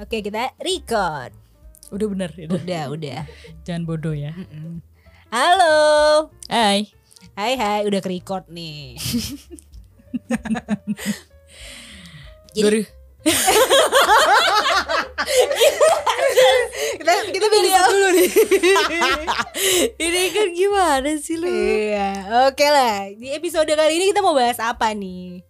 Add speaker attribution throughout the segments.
Speaker 1: Oke kita record.
Speaker 2: Udah bener itu.
Speaker 1: Udah udah.
Speaker 2: Jangan bodoh ya.
Speaker 1: Mm-mm. Halo.
Speaker 2: Hai.
Speaker 1: Hai hai udah ke record nih. Jadi-
Speaker 2: Duri-
Speaker 1: kita kita
Speaker 2: Ini
Speaker 1: video.
Speaker 2: dulu nih. Ini kan gimana sih lu?
Speaker 1: Iya, oke lah. Di episode kali ini kita mau bahas apa nih?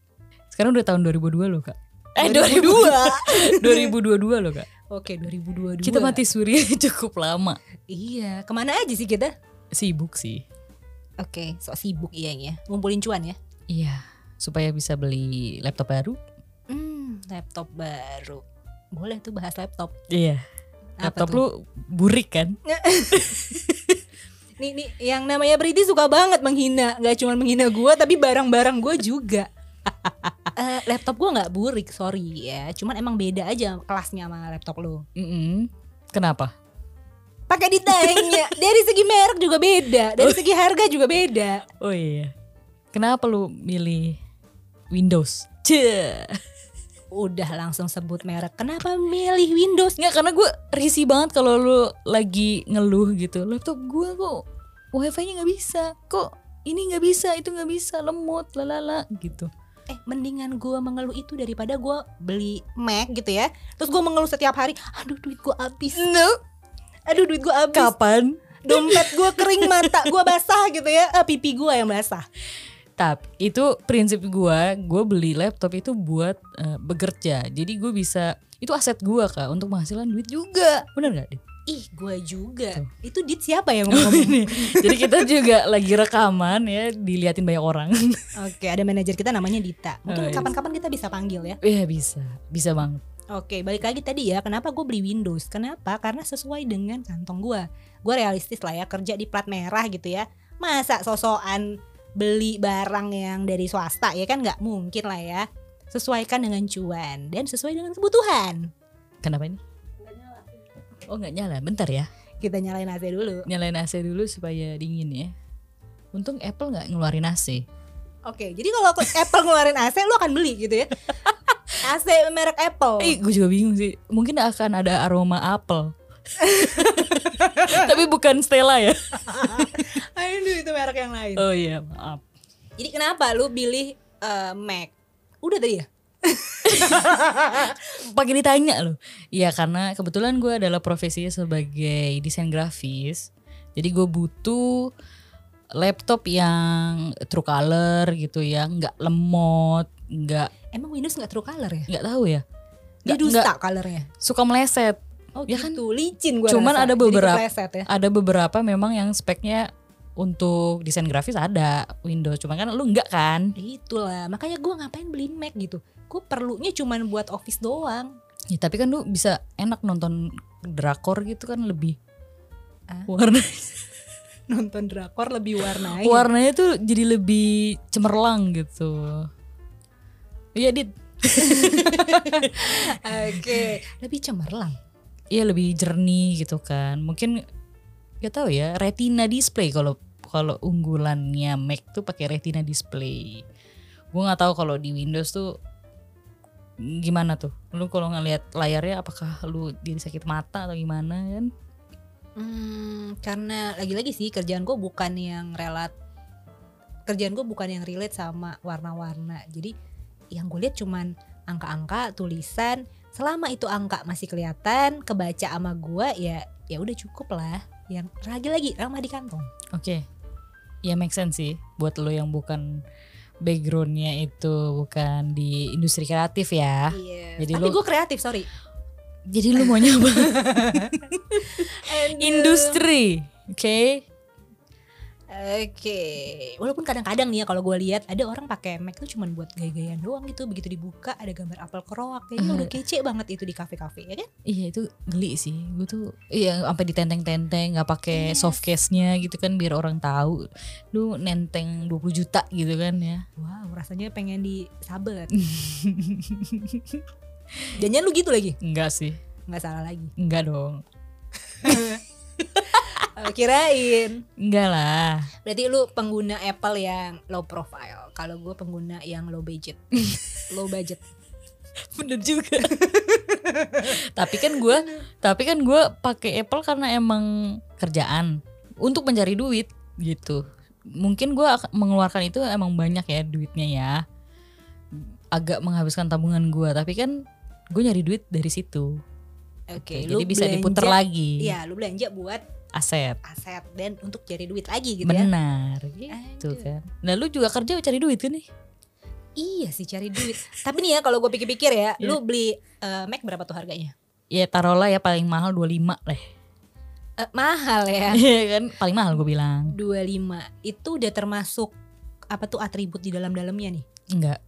Speaker 2: Sekarang udah tahun 2002 loh, Kak.
Speaker 1: Eh,
Speaker 2: 2022 loh, Kak.
Speaker 1: 2002. Oke, 2022.
Speaker 2: Kita mati suri cukup lama.
Speaker 1: Iya, kemana aja sih kita?
Speaker 2: Sibuk sih.
Speaker 1: Oke, sok sibuk ianya. Ngumpulin cuan ya.
Speaker 2: Iya, supaya bisa beli laptop baru.
Speaker 1: Hmm, laptop baru. Boleh tuh bahas laptop.
Speaker 2: Iya.
Speaker 1: Apa
Speaker 2: Laptop
Speaker 1: tuh?
Speaker 2: lu burik kan?
Speaker 1: Nih, nih yang namanya Priti suka banget menghina, nggak cuma menghina gua tapi barang-barang gua juga. Eh, laptop gua nggak burik, sorry ya. Cuman emang beda aja kelasnya sama laptop lu.
Speaker 2: Mm-mm. Kenapa?
Speaker 1: Pakai ditanya, dari segi merek juga beda, dari segi harga juga beda.
Speaker 2: Oh iya. Kenapa lu milih Windows? Cie.
Speaker 1: Udah langsung sebut merek. Kenapa milih Windows?
Speaker 2: Nggak karena gue risih banget kalau lu lagi ngeluh gitu Laptop gue kok wifi nya gak bisa Kok ini gak bisa, itu gak bisa, lemot, lalala gitu
Speaker 1: Eh, mendingan gua mengeluh itu daripada gua beli Mac gitu ya. Terus gua mengeluh setiap hari, aduh duit gua habis. Aduh duit gua habis.
Speaker 2: Kapan?
Speaker 1: dompet gue kering mata gue basah gitu ya Eh, pipi gue yang basah
Speaker 2: Tapi itu prinsip gue, gue beli laptop itu buat eh, bekerja Jadi gue bisa, itu aset gue kak untuk penghasilan duit juga Bener gak? Dit?
Speaker 1: ih gue juga itu dit siapa yang ngomong
Speaker 2: Ini. Jadi kita juga lagi rekaman ya, diliatin banyak orang
Speaker 1: oke ada manajer kita namanya Dita
Speaker 2: Oh,
Speaker 1: mungkin
Speaker 2: iya.
Speaker 1: kapan-kapan kita bisa panggil ya
Speaker 2: Iya bisa, bisa banget
Speaker 1: oke balik lagi tadi ya kenapa gue beli Windows kenapa karena sesuai dengan kantong gue gue realistis lah ya kerja di plat merah gitu ya masa sosokan beli barang yang dari swasta ya kan nggak mungkin lah ya sesuaikan dengan cuan dan sesuai dengan kebutuhan
Speaker 2: Kenapa ini? Oh nggak nyala, bentar ya
Speaker 1: kita nyalain AC dulu
Speaker 2: nyalain AC dulu supaya dingin ya. Untung Apple nggak ngeluarin AC.
Speaker 1: Oke, jadi kalau aku- Apple ngeluarin AC, lu akan beli gitu ya? AC merek Apple.
Speaker 2: Eh, gue juga bingung sih. Mungkin akan ada aroma apel. Tapi bukan Stella ya.
Speaker 1: Aduh, itu merek yang lain.
Speaker 2: Oh iya, maaf.
Speaker 1: Jadi kenapa lu pilih eh, Mac? Udah tadi ya?
Speaker 2: Pakai ditanya loh. Iya, karena kebetulan gue adalah profesinya sebagai desain grafis. Jadi gue butuh laptop yang true color gitu ya, nggak lemot, nggak
Speaker 1: Emang Windows nggak true color ya?
Speaker 2: nggak tahu ya.
Speaker 1: Dia
Speaker 2: Nggak-
Speaker 1: dusta
Speaker 2: nggak
Speaker 1: colornya.
Speaker 2: suka meleset.
Speaker 1: Oh
Speaker 2: Ya kan?
Speaker 1: gitu, licin gua
Speaker 2: Cuman
Speaker 1: rasa.
Speaker 2: ada
Speaker 1: Jadi
Speaker 2: beberapa-
Speaker 1: kepleset ya.
Speaker 2: ada beberapa memang yang speknya untuk desain grafis ada Windows cuma kan lu enggak kan
Speaker 1: Itulah, makanya gua ngapain beli Mac gitu. Gue perlunya cuman buat office doang.
Speaker 2: ya tapi kan lu bisa enak nonton drakor gitu kan lebih
Speaker 1: Ah.
Speaker 2: warna
Speaker 1: Nonton drakor lebih warnai.
Speaker 2: warnanya tuh jadi lebih cemerlang gitu iya dit
Speaker 1: Oke, lebih cemerlang.
Speaker 2: iya lebih jernih gitu kan mungkin gak tahu ya retina display kalau kalau unggulannya Mac tuh pakai retina display gue nggak tahu kalau di Windows tuh gimana tuh lu kalau ngelihat layarnya apakah lu jadi sakit mata atau gimana kan
Speaker 1: Hmm, karena lagi-lagi sih kerjaan gue bukan yang relat kerjaan gue bukan yang relate sama warna-warna jadi yang gue lihat cuman angka-angka tulisan selama itu angka masih kelihatan kebaca sama gue ya ya udah cukup lah yang lagi-lagi ramah di kantong
Speaker 2: oke ya make sense sih buat lu yang bukan backgroundnya itu bukan di industri kreatif ya
Speaker 1: iya tapi
Speaker 2: Jadi lu-
Speaker 1: gue kreatif sorry
Speaker 2: jadi lu mau nyoba industri oke
Speaker 1: oke walaupun kadang-kadang nih ya kalau gue lihat ada orang pakai Mac tuh cuman buat gaya-gayaan doang gitu begitu dibuka ada gambar apel keroak kayaknya
Speaker 2: Eh.
Speaker 1: udah kece banget itu di kafe-kafe ya kan
Speaker 2: Iya itu geli sih, gue tuh iya sampai ditenteng-tenteng nggak pakai
Speaker 1: Yes.
Speaker 2: soft case-nya gitu kan biar orang tahu lu nenteng 20 juta gitu kan ya.
Speaker 1: Wow, rasanya pengen disabet. Jangan lu gitu lagi?
Speaker 2: Enggak sih,
Speaker 1: Nggak salah lagi.
Speaker 2: enggak dong,
Speaker 1: Eh, Kirain.
Speaker 2: enggak lah.
Speaker 1: Berarti lu pengguna Apple yang low profile. Kalau gue pengguna yang low budget. low budget.
Speaker 2: Bener juga. tapi kan gue
Speaker 1: Iya.
Speaker 2: tapi kan gue pakai Apple karena emang kerjaan untuk mencari duit gitu mungkin gue mengeluarkan itu emang banyak ya duitnya ya agak menghabiskan tabungan gue tapi kan gue nyari duit dari situ
Speaker 1: Oke,
Speaker 2: Oke,
Speaker 1: lu
Speaker 2: jadi bisa
Speaker 1: belanja-
Speaker 2: diputar lagi
Speaker 1: Iya, lu belanja buat
Speaker 2: aset
Speaker 1: aset dan untuk cari duit lagi gitu ya.
Speaker 2: benar gitu
Speaker 1: Aduh.
Speaker 2: kan nah lu juga kerja cari duit kan nih
Speaker 1: Iya sih cari duit. Tapi nih ya kalau gue pikir-pikir ya,
Speaker 2: Iya.
Speaker 1: lu beli eh, Mac berapa tuh harganya?
Speaker 2: ya taruhlah ya paling mahal 25 lah
Speaker 1: Eh, mahal ya.
Speaker 2: Iya kan paling mahal gue bilang
Speaker 1: 25 itu udah termasuk apa tuh atribut di dalam-dalamnya nih?
Speaker 2: enggak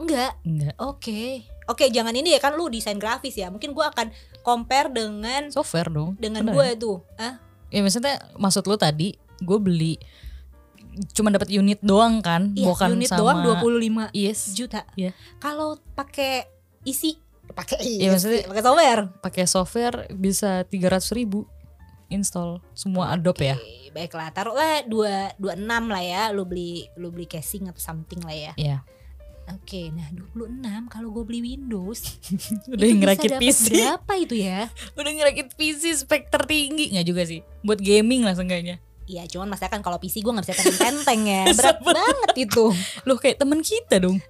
Speaker 1: Enggak.
Speaker 2: enggak
Speaker 1: Oke. Oke, jangan ini ya kan lu desain grafis ya. Mungkin gua akan compare dengan
Speaker 2: software dong
Speaker 1: dengan
Speaker 2: Bener.
Speaker 1: gue tuh. Hah?
Speaker 2: ya maksudnya maksud lu tadi gue beli cuma dapat unit doang kan
Speaker 1: Iya,
Speaker 2: bukan
Speaker 1: unit
Speaker 2: sama
Speaker 1: doang 25
Speaker 2: yes
Speaker 1: juta.
Speaker 2: Iya.
Speaker 1: Kalau pakai isi pakai isi,
Speaker 2: Iya, maksudnya-
Speaker 1: pakai software.
Speaker 2: pakai software bisa 300.000 ribu install semua Adobe ya
Speaker 1: Oke, baiklah taruhlah dua dua enam lah ya lu beli lu beli casing atau something lah ya
Speaker 2: Iya.
Speaker 1: oke nah 26 kalau gue beli Windows
Speaker 2: udah
Speaker 1: itu bisa
Speaker 2: ngerakit
Speaker 1: dapat
Speaker 2: PC
Speaker 1: berapa itu ya
Speaker 2: udah ngerakit PC spek tertinggi nggak juga sih buat gaming lah seenggaknya
Speaker 1: Iya cuman masa kan kalau PC gue gak bisa tenteng-tenteng ya Berat
Speaker 2: Bener.
Speaker 1: banget itu
Speaker 2: loh kayak temen kita dong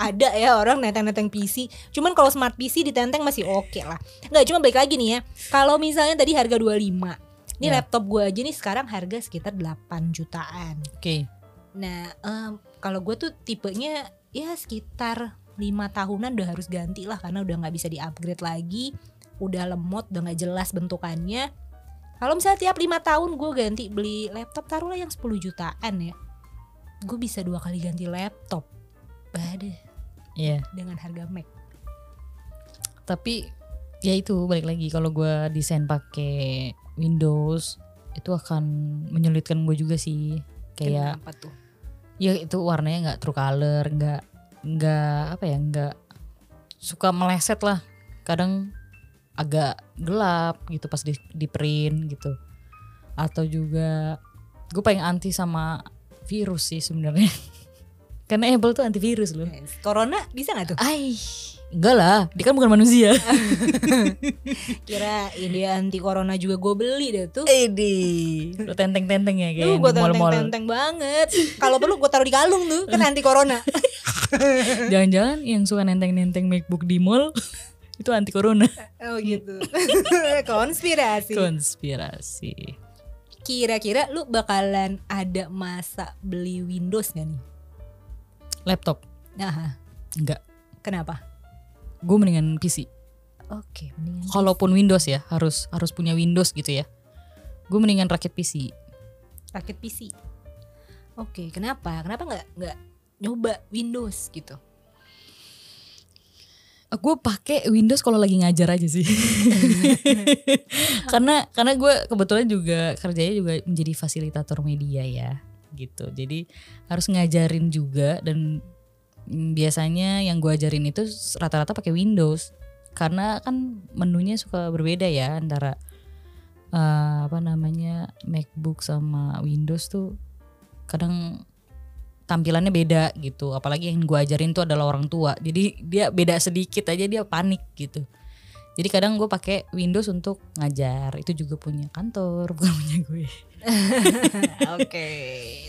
Speaker 1: Ada ya orang nenteng-nenteng PC Cuman kalau smart PC ditenteng masih oke lah Nggak cuma balik lagi nih ya Kalau misalnya tadi harga 25 Ini
Speaker 2: Ya.
Speaker 1: laptop gue aja nih sekarang harga sekitar 8 jutaan
Speaker 2: oke
Speaker 1: Nah, em, kalau gue tuh tipenya ya sekitar lima tahunan udah harus ganti lah karena udah nggak bisa di-upgrade lagi, udah lemot, udah nggak jelas bentukannya. Kalau misalnya tiap lima tahun gue ganti beli laptop taruhlah yang 10 jutaan ya, gue bisa dua kali ganti laptop. Badeh
Speaker 2: Iya
Speaker 1: dengan harga Mac. Kan
Speaker 2: tapi ya itu balik lagi kalau gua desain pakai Windows itu akan menyulitkan gue juga sih kayak
Speaker 1: Kenapa tuh?
Speaker 2: ya itu warnanya nggak true color nggak nggak apa ya nggak suka meleset lah kadang agak gelap gitu pas di, di print gitu atau juga gue paling anti sama virus sih sebenarnya karena Apple tuh antivirus loh
Speaker 1: Eh, Corona bisa nggak tuh?
Speaker 2: Ai, enggak lah, dia kan bukan manusia.
Speaker 1: Kira ini anti corona juga gue beli deh tuh.
Speaker 2: Edi, lo tenteng-tenteng ya kayak
Speaker 1: Lu gue
Speaker 2: di mall-mall.
Speaker 1: tenteng-tenteng banget. Kalau perlu gue taruh di kalung tuh kan anti corona.
Speaker 2: Jangan-jangan yang suka nenteng-nenteng MacBook di mall itu anti corona.
Speaker 1: Oh gitu. Konspirasi.
Speaker 2: Konspirasi.
Speaker 1: Kira-kira lu bakalan ada masa beli Windows gak nih?
Speaker 2: Laptop
Speaker 1: Nah,
Speaker 2: enggak.
Speaker 1: kenapa?
Speaker 2: Gue mendingan PC.
Speaker 1: Oke, mendingan.
Speaker 2: Kalaupun Windows ya, harus harus punya Windows gitu ya. Gue mendingan rakit PC.
Speaker 1: rakit PC. Oke, kenapa? Kenapa nggak nggak nyoba Windows gitu?
Speaker 2: Gue pakai Windows kalau lagi ngajar aja sih. karena karena gue kebetulan juga kerjanya juga menjadi fasilitator media ya gitu. Jadi harus ngajarin juga dan mm, biasanya yang gue ajarin itu rata-rata pakai Windows karena kan menunya suka berbeda ya antara eh, apa namanya MacBook sama Windows tuh kadang tampilannya beda gitu apalagi yang gue ajarin tuh adalah orang tua jadi dia beda sedikit aja dia panik gitu jadi kadang gue pakai Windows untuk ngajar itu juga punya kantor bukan punya gue
Speaker 1: Nah, Oke.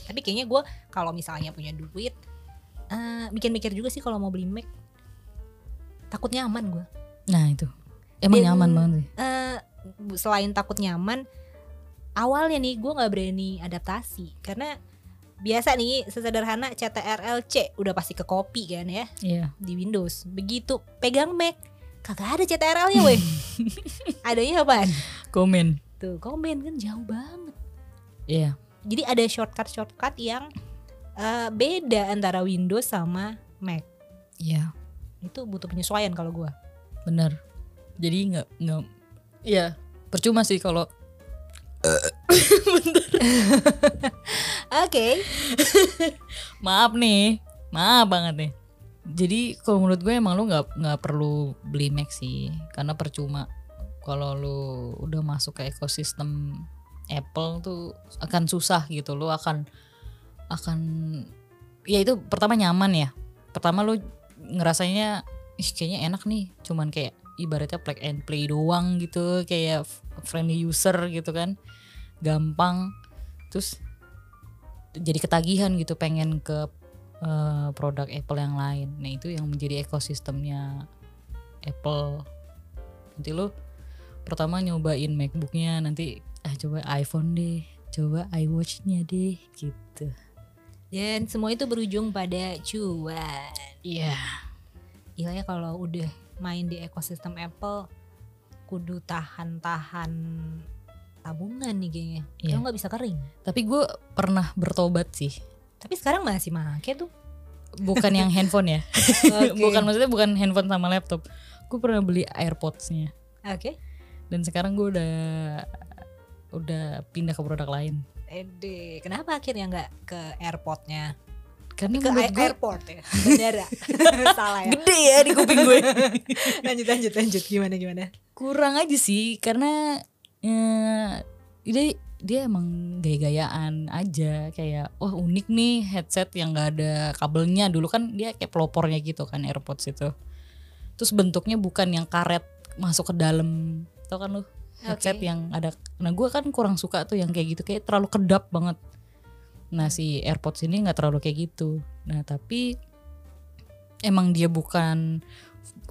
Speaker 1: Tapi kayaknya gue kalau misalnya punya duit, eh, mikir-mikir juga sih kalau mau beli Mac. Takut nyaman gue.
Speaker 2: nah itu emang
Speaker 1: Dan-
Speaker 2: nyaman banget sih
Speaker 1: eh bu- selain takut nyaman awalnya nih gue nggak berani adaptasi karena biasa nih sesederhana CTRLC udah pasti ke copy kan ya
Speaker 2: iya
Speaker 1: di Windows begitu pegang Mac kagak ada CTRL-nya weh adanya apaan
Speaker 2: komen
Speaker 1: tuh komen kan jauh banget
Speaker 2: iya
Speaker 1: jadi ada shortcut shortcut yang eh, beda antara Windows sama Mac
Speaker 2: iya
Speaker 1: itu butuh penyesuaian kalau gue
Speaker 2: bener jadi nggak nggak iya percuma sih kalau
Speaker 1: oke
Speaker 2: maaf nih maaf banget nih jadi kalau menurut gue emang lu nggak nggak perlu beli Mac sih karena percuma kalau lu udah masuk ke ekosistem Apple tuh akan susah gitu lu akan akan ya itu pertama nyaman ya pertama lu ngerasanya ih kayaknya enak nih cuman kayak ibaratnya plug and play doang gitu kayak f- friendly user gitu kan gampang terus jadi ketagihan gitu pengen ke eh, produk Apple yang lain nah itu yang menjadi ekosistemnya Apple nanti lo pertama nyobain MacBooknya nanti ah coba iPhone deh coba iWatch-nya deh gitu
Speaker 1: Dan semua itu berujung pada cuan.
Speaker 2: iya
Speaker 1: Gila ya kalau udah main di ekosistem Apple kudu tahan-tahan tabungan nih kayaknya.
Speaker 2: Iya.
Speaker 1: Kalau nggak bisa kering.
Speaker 2: tapi gue pernah bertobat sih
Speaker 1: Tapi sekarang masih make tuh.
Speaker 2: bukan yang handphone ya
Speaker 1: Oke.
Speaker 2: bukan maksudnya bukan handphone sama laptop gue pernah beli AirPods-nya
Speaker 1: Oke.
Speaker 2: dan sekarang gue udah udah pindah ke produk lain
Speaker 1: Ede, kenapa akhirnya nggak ke airportnya?
Speaker 2: karena
Speaker 1: Ke
Speaker 2: menurut
Speaker 1: air-
Speaker 2: gue
Speaker 1: airport ya, bandara. Salah ya.
Speaker 2: gede ya di kuping gue
Speaker 1: Lanjut lanjut lanjut gimana gimana?
Speaker 2: kurang aja sih karena eh, dia dia emang gaya-gayaan aja kayak wah unik nih headset yang gak ada kabelnya dulu kan dia kayak pelopornya gitu kan AirPods itu terus bentuknya bukan yang karet masuk ke dalam tau kan lu headset
Speaker 1: Oke.
Speaker 2: yang ada nah gue kan kurang suka tuh yang kayak gitu kayak terlalu kedap banget nah si AirPods ini nggak terlalu kayak gitu nah tapi emang dia bukan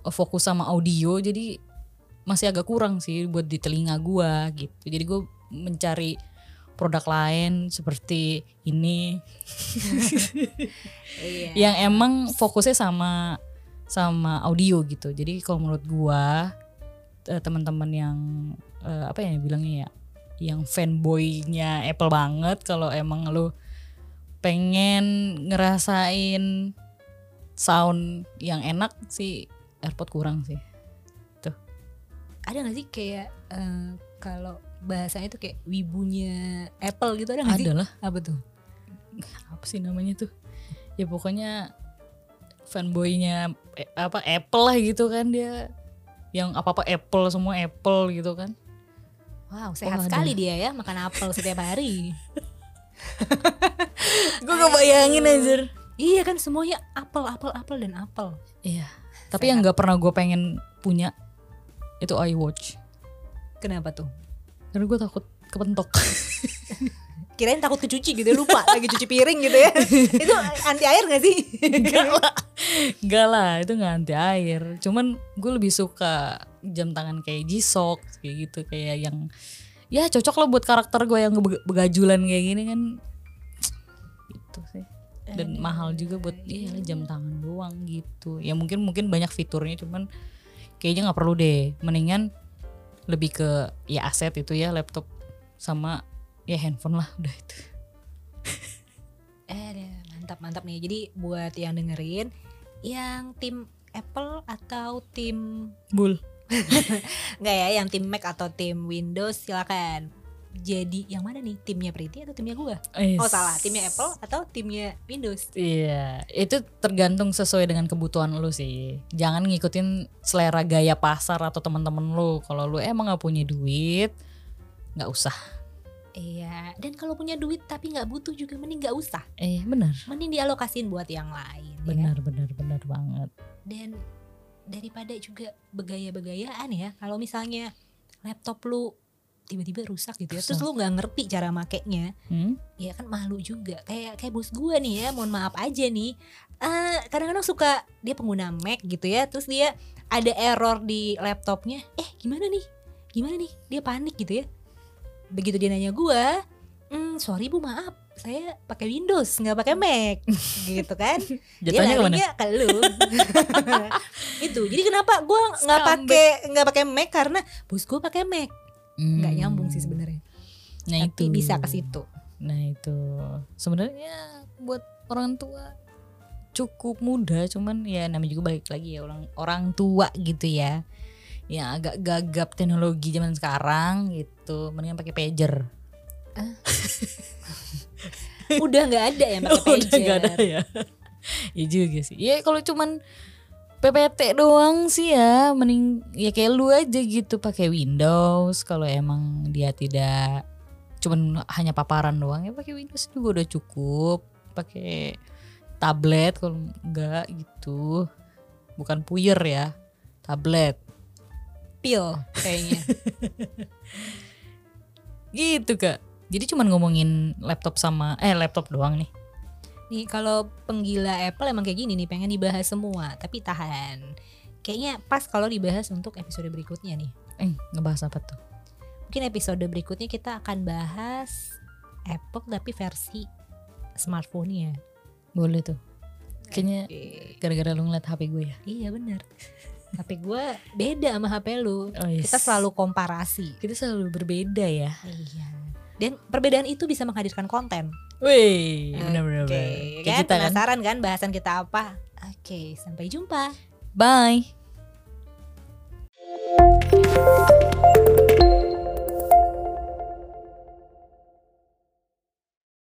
Speaker 2: f- fokus sama audio jadi masih agak kurang sih buat di telinga gua gitu jadi gue mencari produk lain seperti ini
Speaker 1: Iya.
Speaker 2: yang emang fokusnya sama sama audio gitu jadi kalau menurut gua eh, teman-teman yang eh, apa ya bilangnya ya yang fanboynya Apple banget kalau emang lu pengen ngerasain sound yang enak sih AirPod kurang sih
Speaker 1: Ada nggak sih kayak eh, kalau bahasanya itu kayak wibunya Apple gitu ada nggak sih?
Speaker 2: adalah
Speaker 1: Apa tuh?
Speaker 2: apa sih namanya tuh ya pokoknya fanboynya eh, apa Apple lah gitu kan dia yang apa apa Apple semua Apple gitu kan
Speaker 1: Wow, sehat
Speaker 2: Oh, ada.
Speaker 1: sekali dia ya makan apel setiap hari.
Speaker 2: gue kebayangin anjir
Speaker 1: iya kan semuanya apel, apel, apel dan apel.
Speaker 2: iya tapi yang nggak pernah gue pengen punya itu iWatch
Speaker 1: Kenapa tuh?
Speaker 2: karena gue takut kepentok
Speaker 1: Kirain takut kecuci gitu lupa lagi cuci piring gitu ya. itu anti air nggak sih?
Speaker 2: enggak lah enggak lah itu nggak anti air cuman gue lebih suka jam tangan kayak G-Shock kayak gitu kayak yang ya cocok lah buat karakter gue yang beg- begajulan kayak gini kan itu sih dan mahal juga buat iya lah, jam tangan doang gitu ya mungkin mungkin banyak fiturnya cuman kayaknya nggak perlu deh mendingan lebih ke ya aset itu ya laptop sama ya handphone lah udah itu
Speaker 1: Eh, deh, mantap mantap nih. Jadi buat yang dengerin, yang tim Apple atau tim
Speaker 2: bul
Speaker 1: nggak ya, yang tim Mac atau tim Windows silakan. Jadi yang mana nih timnya Priti atau timnya gua? Oh salah, timnya Apple atau timnya Windows?
Speaker 2: Iya, itu tergantung sesuai dengan kebutuhan lu sih. Jangan ngikutin selera gaya pasar atau teman-teman lu. Kalau lu emang nggak punya duit, nggak usah.
Speaker 1: Iya. Dan kalau punya duit tapi nggak butuh juga mending nggak usah.
Speaker 2: Eh, benar,
Speaker 1: Mending dialokasiin buat yang lain. ya kan?
Speaker 2: benar, benar, benar banget.
Speaker 1: dan daripada juga begaya-begayaan ya kalau misalnya laptop lu tiba-tiba rusak gitu ya terus
Speaker 2: Rusak.
Speaker 1: lu nggak ngerti cara makainya
Speaker 2: Hmm?
Speaker 1: ya kan malu juga kayak kayak bos gua nih ya mohon maaf aja nih Eh, kadang-kadang suka dia pengguna Mac gitu ya terus dia ada error di laptopnya eh gimana nih gimana nih dia panik gitu ya begitu dia nanya gua "Hmm, sorry bu maaf saya pakai Windows nggak pakai Mac gitu kan
Speaker 2: Jatuhnya
Speaker 1: dia
Speaker 2: kemana?
Speaker 1: larinya ke lu. itu. Jadi kenapa gua nggak
Speaker 2: Scumbag.
Speaker 1: pakai nggak pakai Mac karena bos gua pakai Mac.
Speaker 2: Hmm.
Speaker 1: Nggak nyambung sih sebenarnya.
Speaker 2: Nah
Speaker 1: Tapi
Speaker 2: itu
Speaker 1: bisa ke situ.
Speaker 2: Nah itu sebenarnya buat orang tua cukup muda, cuman ya namanya juga balik lagi ya orang orang tua gitu ya. Ya agak gagap teknologi zaman sekarang gitu, mendingan pakai pager.
Speaker 1: Udah nggak ada yang pakai pager.
Speaker 2: Udah nggak ada ya. Iya juga sih. Ya kalau cuman PPT doang sih ya, mending ya kayak lu aja gitu pakai Windows. Kalau emang dia tidak cuman hanya paparan doang ya pakai Windows juga udah cukup. Pakai tablet kalau enggak gitu. bukan puyer ya tablet
Speaker 1: pil kayaknya
Speaker 2: gitu kak jadi cuman ngomongin laptop sama eh laptop doang nih
Speaker 1: nih kalau penggila Apple emang kayak gini nih pengen dibahas semua tapi tahan kayaknya pas kalau dibahas untuk episode berikutnya nih
Speaker 2: eh ngebahas apa tuh
Speaker 1: mungkin episode berikutnya kita akan bahas Apple tapi versi smartphone-nya
Speaker 2: boleh tuh kayaknya gara-gara lu ngeliat HP gue ya
Speaker 1: iya benar HP gue beda sama HP lu
Speaker 2: oh, yes.
Speaker 1: kita selalu komparasi
Speaker 2: kita selalu berbeda ya
Speaker 1: iya dan perbedaan itu bisa menghadirkan konten
Speaker 2: Wih, bener-bener
Speaker 1: Oke, kan
Speaker 2: Kayak kita kan
Speaker 1: penasaran kan bahasan kita apa oke sampai jumpa
Speaker 2: Bye